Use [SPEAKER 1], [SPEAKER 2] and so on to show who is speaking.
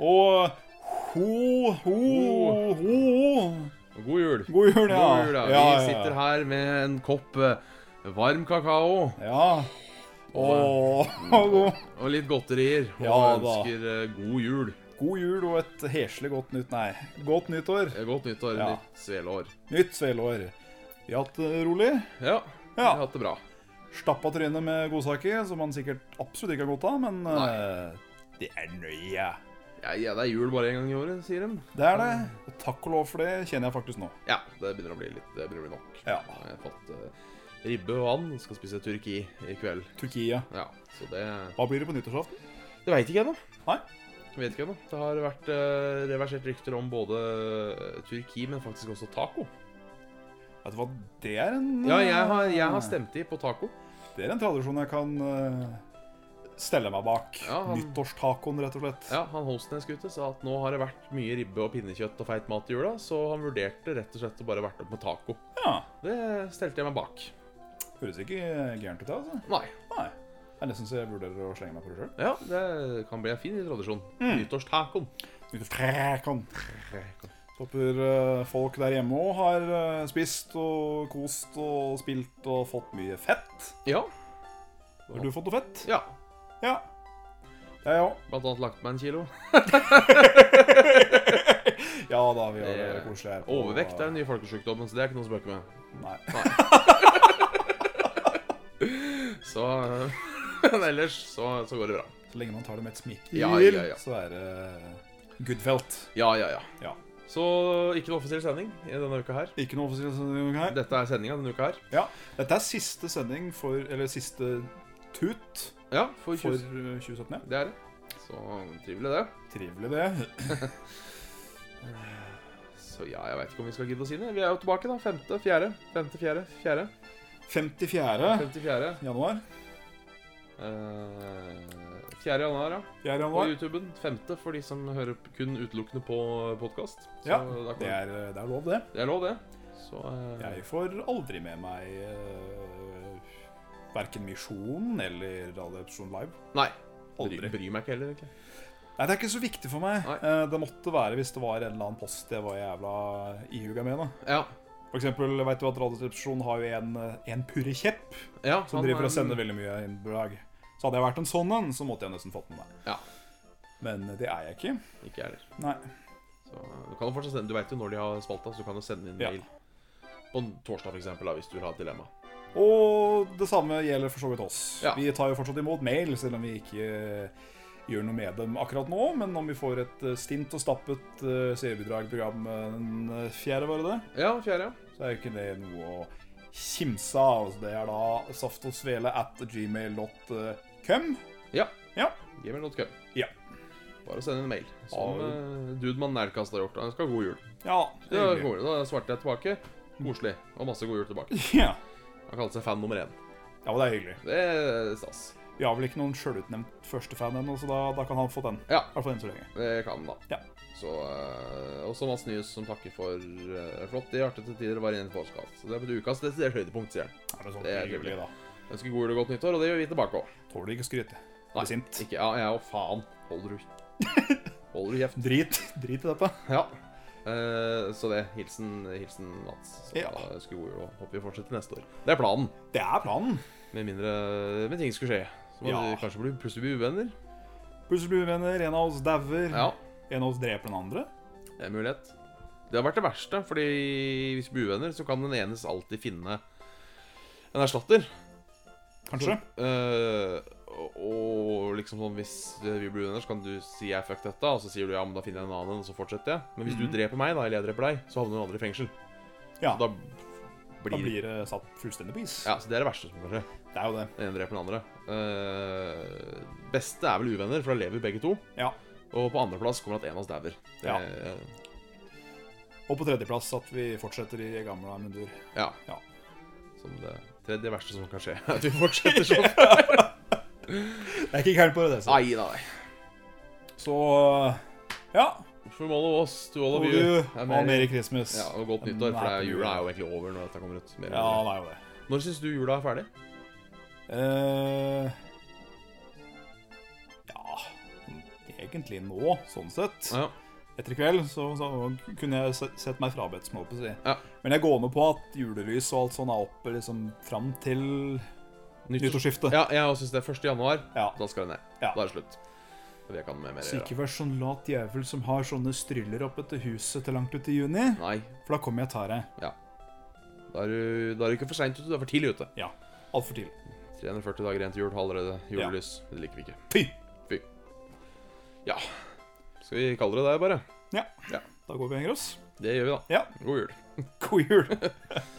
[SPEAKER 1] Og ho, ho, ho.
[SPEAKER 2] God jul.
[SPEAKER 1] God jul, ja.
[SPEAKER 2] God jul, da.
[SPEAKER 1] Ja,
[SPEAKER 2] Vi sitter her med en kopp eh, varm kakao
[SPEAKER 1] Ja. Og god,
[SPEAKER 2] og litt godterier. Og
[SPEAKER 1] Ja, da.
[SPEAKER 2] ønsker eh, god jul.
[SPEAKER 1] god jul og et heslig godt nytt Nei, godt nyttår.
[SPEAKER 2] Eh, Godt nyttår,
[SPEAKER 1] Ja.
[SPEAKER 2] nytt svelår.
[SPEAKER 1] Nytt svelår. Vi har hatt det rolig.
[SPEAKER 2] Ja, vi
[SPEAKER 1] Ja.
[SPEAKER 2] har hatt det bra.
[SPEAKER 1] Stappa trynet med godsaker, som han sikkert absolutt ikke har godt av, men eh, det er nøye.
[SPEAKER 2] Ja, ja, det er jul bare en gang i året, sier de.
[SPEAKER 1] Det er det. Og takk og lov for det kjenner jeg faktisk nå.
[SPEAKER 2] Ja, det begynner å bli litt Det begynner å bli nok.
[SPEAKER 1] Ja.
[SPEAKER 2] Nå har Jeg har fått eh, ribbe og and. Skal spise turki i kveld.
[SPEAKER 1] Turkia.
[SPEAKER 2] Ja, så det
[SPEAKER 1] Hva blir det på nyttårsaften?
[SPEAKER 2] Det veit ikke ennå.
[SPEAKER 1] Nei?
[SPEAKER 2] Jeg Vet ikke ennå. Det har vært eh, reversert rykter om både eh, turki, men faktisk også taco.
[SPEAKER 1] Vet du hva, det er en
[SPEAKER 2] Ja, jeg har, jeg har stemt i på taco.
[SPEAKER 1] Det er en tradisjon jeg kan eh, stelle meg bak.
[SPEAKER 2] Ja, han-
[SPEAKER 1] Nyttårstacoen, rett og slett.
[SPEAKER 2] Ja, han Holsnes-gutte sa at nå har det vært mye ribbe og pinnekjøtt og feit mat i jula, så han vurderte rett og slett å bare vært opp med taco.
[SPEAKER 1] Ja,
[SPEAKER 2] Det stelte jeg meg bak.
[SPEAKER 1] Høres ikke gærent ut, altså.
[SPEAKER 2] Nei.
[SPEAKER 1] Nei. Det er nesten så jeg vurderer å slenge meg på det sjøl.
[SPEAKER 2] Ja, det kan bli en fin tradisjon.
[SPEAKER 1] Mm.
[SPEAKER 2] Nyttårstacoen.
[SPEAKER 1] Nyttårstacoen. Håper eh, folk der hjemme òg har eh, spist og kost og spilt og fått mye fett.
[SPEAKER 2] Ja.
[SPEAKER 1] Har du fått noe fett?
[SPEAKER 2] ja.
[SPEAKER 1] Ja. Jeg òg.
[SPEAKER 2] Blant annet lagt meg en kilo.
[SPEAKER 1] Ja da, vi har det
[SPEAKER 2] Det-
[SPEAKER 1] koselig her. på-
[SPEAKER 2] Overvekt er den nye folkesjukdommen, så det er ikke noe å spøke med.
[SPEAKER 1] Nei.
[SPEAKER 2] Så Men ellers så, så går det bra.
[SPEAKER 1] Så lenge man tar det med et smil,
[SPEAKER 2] Ja, ja, ja.
[SPEAKER 1] så er det Goodfelt.
[SPEAKER 2] Ja, ja, ja.
[SPEAKER 1] Ja.
[SPEAKER 2] Så ikke noe offisiell sending i denne uka her.
[SPEAKER 1] Ikke noe offisiell sending her.
[SPEAKER 2] Dette er sendinga denne uka her.
[SPEAKER 1] Ja, Dette er siste sending for Eller siste tut
[SPEAKER 2] Ja, for,
[SPEAKER 1] for
[SPEAKER 2] for...
[SPEAKER 1] eh, 2017. ja.
[SPEAKER 2] Det er det. Så trivelig, det.
[SPEAKER 1] Trivelig, det.
[SPEAKER 2] Så ja, jeg veit ikke om vi skal gidde å si det. Vi er jo tilbake, da. Femte, fjerde, femte, fjerde, fjerde.
[SPEAKER 1] 54.
[SPEAKER 2] Femte, fjerde.
[SPEAKER 1] januar.
[SPEAKER 2] Eh, Fjerde januar, ja.
[SPEAKER 1] 4.
[SPEAKER 2] På
[SPEAKER 1] januar.
[SPEAKER 2] YouTuben. Femte for de som hører p- kun utelukkende på eh, podkast.
[SPEAKER 1] Ja, Det er, eh, det er lov, det.
[SPEAKER 2] det er lov, det. Så eh,
[SPEAKER 1] Jeg får aldri med meg uh, verken Misjon eller Radioepisode Live.
[SPEAKER 2] Nei.
[SPEAKER 1] Aldri.
[SPEAKER 2] Bry, bryr meg ikke heller, egentlig.
[SPEAKER 1] Nei, Det er ikke så viktig for meg.
[SPEAKER 2] Nei.
[SPEAKER 1] Eh, det måtte være hvis det var en eller annen post jeg var jævla ihuga med. da
[SPEAKER 2] Ja.
[SPEAKER 1] For eksempel, jeg vet du at Radioresepsjonen har jo en, eh, en purre kjepp
[SPEAKER 2] ja
[SPEAKER 1] som
[SPEAKER 2] han
[SPEAKER 1] driver
[SPEAKER 2] er
[SPEAKER 1] og sender
[SPEAKER 2] en-
[SPEAKER 1] veldig mye innbrag. Så hadde jeg vært en sånn en, så måtte jeg nesten fått med meg.
[SPEAKER 2] Ja.
[SPEAKER 1] Men det er jeg ikke.
[SPEAKER 2] Ikke jeg heller.
[SPEAKER 1] Nei.
[SPEAKER 2] Så du kan jo fortsatt sende Du veit jo når de har spalta, så du kan jo sende inn
[SPEAKER 1] Ja.
[SPEAKER 2] mail. På torsdag, for eksempel, da, hvis du vil ha et dilemma.
[SPEAKER 1] Og det samme gjelder for så vidt oss.
[SPEAKER 2] Ja.
[SPEAKER 1] Vi tar jo fortsatt imot mail, selv om vi ikke eh, gjør noe med dem akkurat nå. Men om vi får et eh, stint og stappet eh, seriebidragprogram eh, den eh, fjerde, var det det?
[SPEAKER 2] Ja, fjerde. ja.
[SPEAKER 1] så er jo ikke det noe å kimse av. Altså, Det er da saftosvele at eh, gmail.com.
[SPEAKER 2] Ja.
[SPEAKER 1] Ja.
[SPEAKER 2] Gmail.com.
[SPEAKER 1] Ja.
[SPEAKER 2] Bare send en mail. Som
[SPEAKER 1] Ja.
[SPEAKER 2] uh, Dudemann Nerdkast har gjort. Han skal ha god jul.
[SPEAKER 1] Ja,
[SPEAKER 2] Da,
[SPEAKER 1] hyggelig.
[SPEAKER 2] går det, da svarte jeg tilbake. Koselig. Og masse god jul tilbake.
[SPEAKER 1] Ja.
[SPEAKER 2] Han kalte seg fan nummer én.
[SPEAKER 1] ja, men det er hyggelig.
[SPEAKER 2] Det er stas.
[SPEAKER 1] Vi har vel ikke noen sjølutnevnt førstefan ennå, så da, da kan han få den.
[SPEAKER 2] Ja.
[SPEAKER 1] I hvert fall enn så lenge.
[SPEAKER 2] Det kan han, da.
[SPEAKER 1] Ja.
[SPEAKER 2] Så eh, Også Mads Nyhus, som takker for uh, flott i hjertet til tider å være inne i podkast. Så det er på ukas desidert høydepunkt, sier han.
[SPEAKER 1] Er det sånn
[SPEAKER 2] Det er
[SPEAKER 1] hyggelig, da?
[SPEAKER 2] Ønsker god jul og godt nyttår, og det gjør vi tilbake òg.
[SPEAKER 1] Tåler ikke skryt.
[SPEAKER 2] Nei.
[SPEAKER 1] Blir sint.
[SPEAKER 2] Ikke Ja, jeg og faen. Holder du Holder du kjeft?
[SPEAKER 1] Drit. Drit i dette.
[SPEAKER 2] Ja. Eh, så det. Hilsen, hilsen Mats. Så
[SPEAKER 1] Ja.
[SPEAKER 2] ønsker god jul og håper vi fortsetter neste år. Det er planen.
[SPEAKER 1] Det er planen.
[SPEAKER 2] Med mindre med ting skulle skje. Så må
[SPEAKER 1] Ja.
[SPEAKER 2] vi kanskje bli, plutselig bli uvenner.
[SPEAKER 1] Plutselig blir vi venner. En av oss dauer.
[SPEAKER 2] Ja,
[SPEAKER 1] En av oss dreper den andre.
[SPEAKER 2] det er en mulighet. Det har vært det verste, fordi hvis vi blir uvenner, så kan den enes alltid finne en erstatter.
[SPEAKER 1] Kanskje.
[SPEAKER 2] Eh, og liksom sånn hvis vi blir uvenner, så kan du si 'jeg fuck dette', og så sier du 'ja, men da finner jeg en annen', og så fortsetter jeg. Men hvis du dreper meg, da, eller jeg dreper deg, så havner den andre i fengsel.
[SPEAKER 1] Mm. Ja.
[SPEAKER 2] Så da
[SPEAKER 1] Da
[SPEAKER 2] blir,
[SPEAKER 1] blir det satt fullstendig på is.
[SPEAKER 2] Ja, så det er det verste som kan skje.
[SPEAKER 1] Det er jo det.
[SPEAKER 2] Den ene dreper den andre. Eh, beste er vel uvenner, for da lever vi begge to.
[SPEAKER 1] Ja.
[SPEAKER 2] Og på andreplass kommer at en av oss dauer. Eh, Det-
[SPEAKER 1] Ja. Og på tredjeplass at vi fortsetter i gamle mundur.
[SPEAKER 2] Ja.
[SPEAKER 1] Ja.
[SPEAKER 2] Som det tredje verste som kan skje. At vi fortsetter sånn.
[SPEAKER 1] Det er ikke gærent på det, det. så.
[SPEAKER 2] Nei, nei.
[SPEAKER 1] Så ja.
[SPEAKER 2] From all of us to all of
[SPEAKER 1] Og
[SPEAKER 2] you.
[SPEAKER 1] du,
[SPEAKER 2] Ja,
[SPEAKER 1] og Merry Christmas.
[SPEAKER 2] Ja, og godt nyttår, for det er,
[SPEAKER 1] Happy
[SPEAKER 2] jula er
[SPEAKER 1] New
[SPEAKER 2] jo egentlig over når dette kommer ut. Mer
[SPEAKER 1] Year.
[SPEAKER 2] eller
[SPEAKER 1] Ja, det
[SPEAKER 2] mindre.
[SPEAKER 1] er jo det.
[SPEAKER 2] Når syns du jula er ferdig?
[SPEAKER 1] Eh, egentlig nå, sånn sett.
[SPEAKER 2] Ja.
[SPEAKER 1] Etter i kveld så, så kunne jeg se- sett meg frabedt, som jeg holdt på å si.
[SPEAKER 2] Ja.
[SPEAKER 1] Men jeg går med på at julelys og alt sånn er oppe liksom fram til
[SPEAKER 2] Nyttårs...
[SPEAKER 1] nyttårsskiftet.
[SPEAKER 2] Ja, jeg også synes det er 1. januar.
[SPEAKER 1] Ja.
[SPEAKER 2] Da skal det ned.
[SPEAKER 1] Ja.
[SPEAKER 2] Da er det slutt. Det vil jeg ikke ha noe mer å
[SPEAKER 1] Så
[SPEAKER 2] gjøre.
[SPEAKER 1] ikke vær sånn lat jævel som har sånne stryller oppe til huset til langt ut i juni,
[SPEAKER 2] Nei.
[SPEAKER 1] for da kommer jeg og tar deg.
[SPEAKER 2] Da er du, da er du ikke for seint ute, du er for tidlig ute.
[SPEAKER 1] Altfor tidlig.
[SPEAKER 2] 340 dager igjen til jul har allerede julelys. Det liker vi ikke.
[SPEAKER 1] Fy!
[SPEAKER 2] Ja. Skal vi kalle det det, bare?
[SPEAKER 1] Da går vi og henger oss.
[SPEAKER 2] Det gjør vi, da.
[SPEAKER 1] Ja.
[SPEAKER 2] God jul.
[SPEAKER 1] God jul!